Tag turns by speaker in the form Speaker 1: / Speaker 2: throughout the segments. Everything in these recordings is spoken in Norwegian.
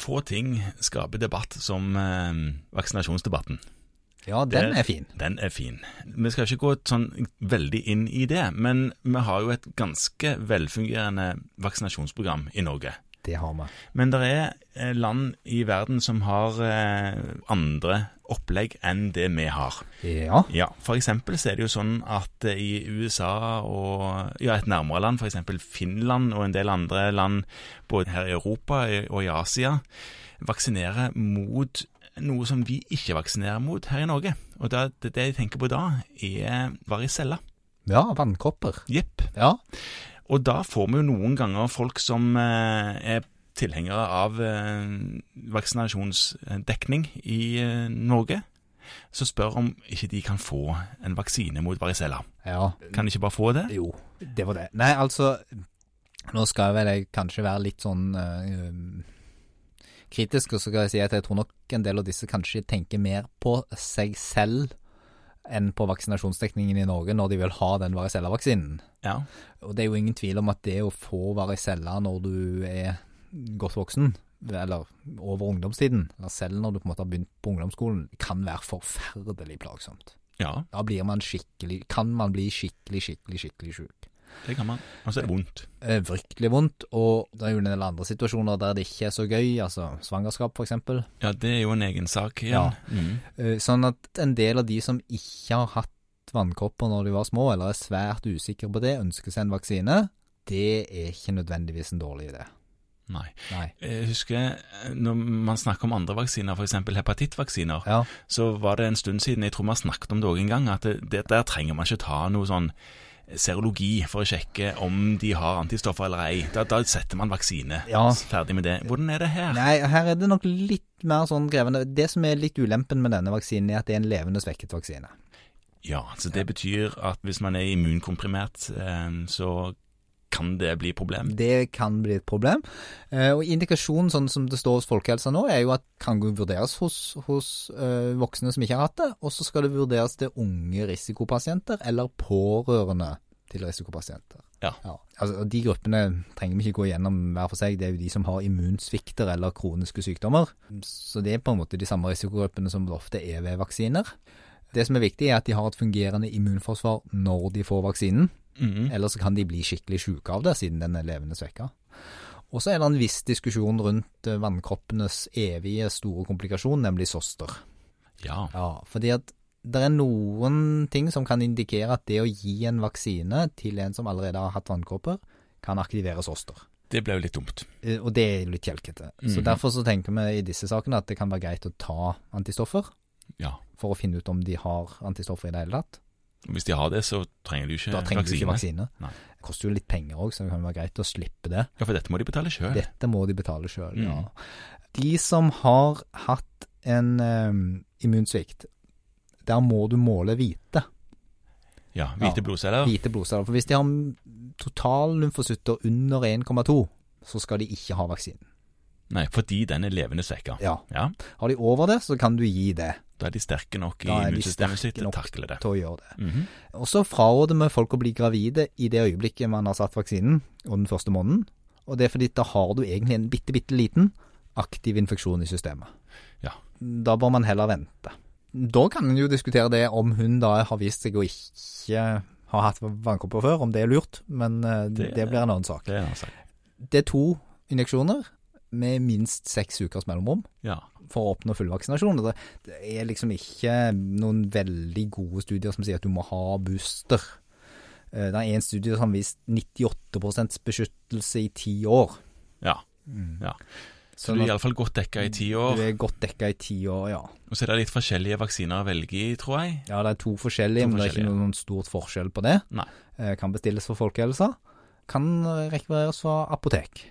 Speaker 1: få ting skaper debatt som eh, vaksinasjonsdebatten.
Speaker 2: Ja, den er fin.
Speaker 1: Den er fin. Vi skal ikke gå sånn veldig inn i det, men vi har jo et ganske velfungerende vaksinasjonsprogram i Norge.
Speaker 2: Det har vi.
Speaker 1: Men det er eh, land i verden som har eh, andre opplegg enn det vi har.
Speaker 2: Ja.
Speaker 1: Ja, for eksempel så er det jo sånn at eh, i USA og ja, et nærmere land, for eksempel Finland og en del andre land både her i Europa og i Asia, vaksinerer mot noe som vi ikke vaksinerer mot her i Norge. Og da, det, det jeg tenker på da, er varicella.
Speaker 2: ja, vannkopper.
Speaker 1: Jepp.
Speaker 2: Ja.
Speaker 1: Og da får vi jo noen ganger folk som eh, er tilhengere av eh, vaksinasjonsdekning i eh, Norge, som spør om ikke de kan få en vaksine mot varicella.
Speaker 2: ja.
Speaker 1: Kan de ikke bare få det?
Speaker 2: Jo, det var det. Nei, altså, nå skal vel jeg kanskje være litt sånn eh, kritisk, og så skal jeg si at jeg tror nok en del av disse kanskje tenker mer på seg selv enn på vaksinasjonsdekningen i Norge når de vil ha den varicella-vaksinen.
Speaker 1: Ja.
Speaker 2: Og det er jo ingen tvil om at det å få varicella når du er godt voksen, eller over ungdomstiden, eller selv når du på en måte har begynt på ungdomsskolen, kan være forferdelig plagsomt.
Speaker 1: ja,
Speaker 2: Da blir man skikkelig, kan man bli skikkelig, skikkelig, skikkelig syk.
Speaker 1: det kan man. Og så er det vondt.
Speaker 2: Eh, Virkelig vondt, og det er jo en del andre situasjoner der det ikke er så gøy, altså svangerskap for eksempel.
Speaker 1: Ja, det er jo en egen sak igjen. Mm.
Speaker 2: Eh, Sånn at en del av de som ikke har hatt vannkopper når de var små, eller er svært usikre på det, ønsker seg en vaksine, det er ikke nødvendigvis en dårlig idé.
Speaker 1: Nei.
Speaker 2: Nei.
Speaker 1: Jeg husker eh, når man snakker om andre vaksiner, f.eks. hepatittvaksiner,
Speaker 2: Ja.
Speaker 1: så var det en stund siden, jeg tror vi har snakket om det òg en gang, at det, det der trenger man ikke ta noe sånn serologi for å sjekke om de har antistoffer eller ei. Da, da setter man vaksine.
Speaker 2: Ja.
Speaker 1: Ferdig med det. Hvordan er det her?
Speaker 2: Nei, her er det nok litt mer sånn krevende. Det som er litt ulempen med denne vaksinen, er at det er en levende svekket vaksine.
Speaker 1: Ja, så det betyr at hvis man er immunkomprimert, eh, så kan det bli problem.
Speaker 2: Det kan bli et problem. Eh, Og indikasjonen, sånn som det står hos Folkehelsa nå, er jo at kan jo vurderes hos, hos eh, voksne som ikke har hatt det, og så skal det vurderes til unge risikopasienter eller pårørende til risikopasienter.
Speaker 1: Ja.
Speaker 2: Altså, og de gruppene trenger vi ikke gå gjennom hver for seg, det er jo de som har immunsvikter eller kroniske sykdommer. Så det er på en måte de samme risikogruppene som det ofte er ved vaksiner. Det som er viktig er at de har et fungerende immunforsvar når de får vaksinen.
Speaker 1: Mhm.
Speaker 2: Eller så kan de bli skikkelig syke av det, siden den er levende svekka. Og så er det en viss diskusjon rundt eh, vannkroppenes evige store komplikasjon, nemlig soster.
Speaker 1: Ja.
Speaker 2: Ja, fordi at det er noen ting som kan indikere at det å gi en vaksine til en som allerede har hatt vannkropper, kan aktivere soster.
Speaker 1: Det ble jo litt dumt.
Speaker 2: Eh, Og det er jo litt kjelkete. Så
Speaker 1: Mhm.
Speaker 2: derfor så tenker vi i disse sakene at det kan være greit å ta antistoffer
Speaker 1: Ja.
Speaker 2: for å finne ut om de har antistoffer i det hele tatt.
Speaker 1: Hvis de har det, så trenger de jo ikke
Speaker 2: Da trenger du
Speaker 1: Eh, vaksine.
Speaker 2: ikke vaksine.
Speaker 1: Nei.
Speaker 2: Det koster jo litt penger òg, så det kan være greit å slippe det.
Speaker 1: Ja, for dette må de betale sjøl.
Speaker 2: Dette må de betale sjøl, ja.
Speaker 1: Mm.
Speaker 2: De som har hatt en eh, immunsvikt, der må du måle hvite,
Speaker 1: Ja. Hvite
Speaker 2: Ja.
Speaker 1: blodceller.
Speaker 2: hvite blodceller. For hvis de har total lymfocytter under 1,2, så skal de ikke ha vaksinen.
Speaker 1: Nei, fordi den er levende svekka.
Speaker 2: Ja.
Speaker 1: Ja.
Speaker 2: Har de over det, så kan du gi det
Speaker 1: Da er de sterke nok i
Speaker 2: Da er de
Speaker 1: immunsystemet sitt
Speaker 2: sterke
Speaker 1: til å
Speaker 2: nok
Speaker 1: takle det.
Speaker 2: til å gjøre det.
Speaker 1: Mhm.
Speaker 2: Og så fraråder vi folk å bli gravide i det øyeblikket man har satt vaksinen, og den første måneden. Og det er fordi da har du egentlig en bitte, bitte liten aktiv infeksjon i systemet.
Speaker 1: Ja.
Speaker 2: Da bør man heller vente. Da kan en jo diskutere det om hun da har vist seg å ikke ha hatt vannkopper før, om det er lurt, men eh, det,
Speaker 1: Det-
Speaker 2: blir en annen sak.
Speaker 1: Det er en annen sak.
Speaker 2: Det er to injeksjoner med minst seks ukers mellomrom
Speaker 1: Ja.
Speaker 2: for å oppnå full vaksinasjon. og Det, det er liksom ikke noen veldig gode studier som sier at du må ha booster. Eh, Det er en studie som har vist 98 beskyttelse i ti år.
Speaker 1: ja. Ja. Så du er iallfall godt dekka i ti år.
Speaker 2: Sånn du er godt dekka i ti år, ja.
Speaker 1: Og så er det litt forskjellige vaksiner å velge i, tror jeg.
Speaker 2: Ja, det er to forskjellige,
Speaker 1: To
Speaker 2: men det er ikke
Speaker 1: forskjellige.
Speaker 2: noen stort forskjell på det.
Speaker 1: Nei.
Speaker 2: Eh, Kan bestilles for folkehelsa. Kan eh, rekvireres fra apotek.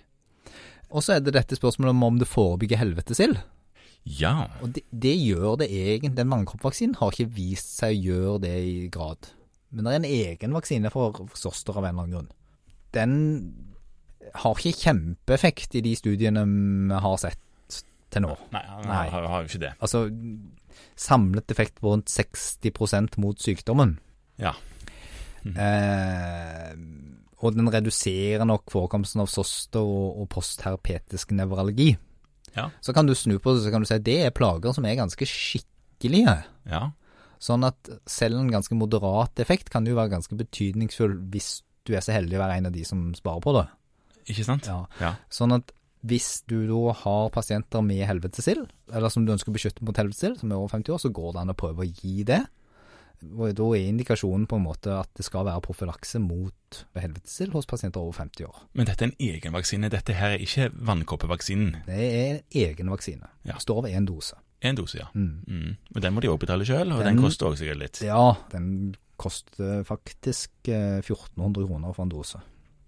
Speaker 2: Og så er det dette spørsmålet om om det forebygger helvetesild.
Speaker 1: Ja.
Speaker 2: Og det, det gjør det egentlig. Den vannkroppvaksinen har ikke vist seg å gjøre det i grad. Men det er en egen vaksine for soster av en eller annen grunn. Den har ikke kjempeeffekt i de studiene vi har sett til nå.
Speaker 1: Nei, han
Speaker 2: Nei.
Speaker 1: Har, har jo ikke det.
Speaker 2: Altså samlet effekt på rundt 60 mot sykdommen.
Speaker 1: Ja. Mhm.
Speaker 2: Eh, og den reduserer nok forekomsten av soster og, og postherpetisk nevralgi.
Speaker 1: Ja.
Speaker 2: Så kan du snu på det, så kan du si at det er plager som er ganske skikkelige.
Speaker 1: Ja.
Speaker 2: Sånn at selv en ganske moderat effekt kan jo være ganske betydningsfull hvis du er så heldig å være en av de som sparer på det.
Speaker 1: Ikke sant?
Speaker 2: Ja.
Speaker 1: Ja.
Speaker 2: Sånn at hvis du da har pasienter med helvetesild, eller som du ønsker å beskytte mot helvetesild, som er over 50 år, så går det an å prøve å gi det. Og da er indikasjonen på en måte at det skal være profylakse mot helvetesild hos pasienter over 50 år.
Speaker 1: Men dette er en egen vaksine. Dette her er ikke vannkoppevaksinen.
Speaker 2: Det er en egen vaksine.
Speaker 1: Ja.
Speaker 2: Står ved én dose.
Speaker 1: Én dose, ja.
Speaker 2: Mm.
Speaker 1: Mm. Og den må de òg betale sjøl, og den,
Speaker 2: Den-
Speaker 1: koster òg sikkert litt.
Speaker 2: Ja, den koster faktisk eh, 1400 kroner for en dose.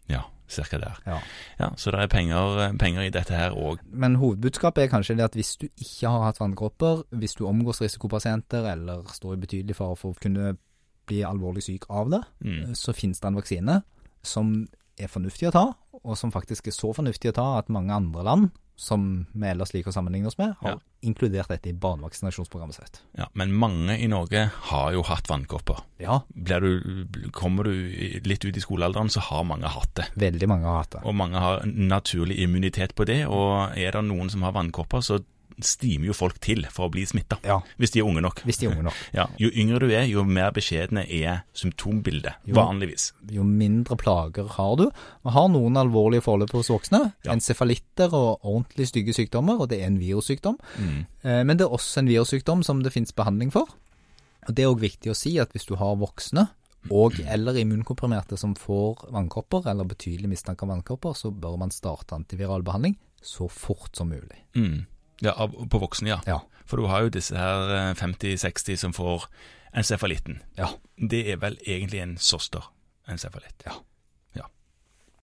Speaker 1: Ja, cirka der.
Speaker 2: Ja.
Speaker 1: Ja, Så det er penger, penger i dette her òg.
Speaker 2: Men hovedbudskapet er kanskje det at hvis du ikke har hatt vannkropper, hvis du omgås risikopasienter eller står i betydelig fare for å kunne bli alvorlig syk av det,
Speaker 1: Mm.
Speaker 2: så finnes det en vaksine som er fornuftig å ta, og som faktisk er så fornuftig å ta at mange andre land, som vi ellers liker å sammenligne oss med, har
Speaker 1: Ja.
Speaker 2: inkludert dette i barnevaksinasjonsprogrammet sitt.
Speaker 1: Ja, men mange i Norge har jo hatt vannkopper.
Speaker 2: Ja,
Speaker 1: Blir du, kommer du i- litt ut i skolealderen, så har mange hatt det.
Speaker 2: veldig mange har hatt det.
Speaker 1: Og mange har naturlig immunitet på det. Og er det noen som har vannkopper, så stimer jo folk til for å bli smitta.
Speaker 2: Ja,
Speaker 1: Hvis de er unge nok.
Speaker 2: hvis de er unge nok.
Speaker 1: Ja, jo yngre du er, jo mer beskjedne er symptombildet.
Speaker 2: Jo.
Speaker 1: Vanligvis.
Speaker 2: Jo mindre plager har du. Vi har noen alvorlige forløp hos voksne.
Speaker 1: Ja.
Speaker 2: Encefalitter og ordentlig stygge sykdommer, og det er en virussykdom.
Speaker 1: Mm.
Speaker 2: Eh, Men det er også en virussykdom som det finnes behandling for. Og Det er òg viktig å si at hvis du har voksne og eller immunkomprimerte som får vannkopper, eller betydelig mistanke om vannkopper, så bør man starte antiviral behandling så fort som mulig.
Speaker 1: Mm. Ja, av- på voksne, ja.
Speaker 2: Ja.
Speaker 1: For du har jo disse her eh, 50-60 som får encefalitten.
Speaker 2: Ja.
Speaker 1: Det er vel egentlig en soster, encefalitt.
Speaker 2: Ja.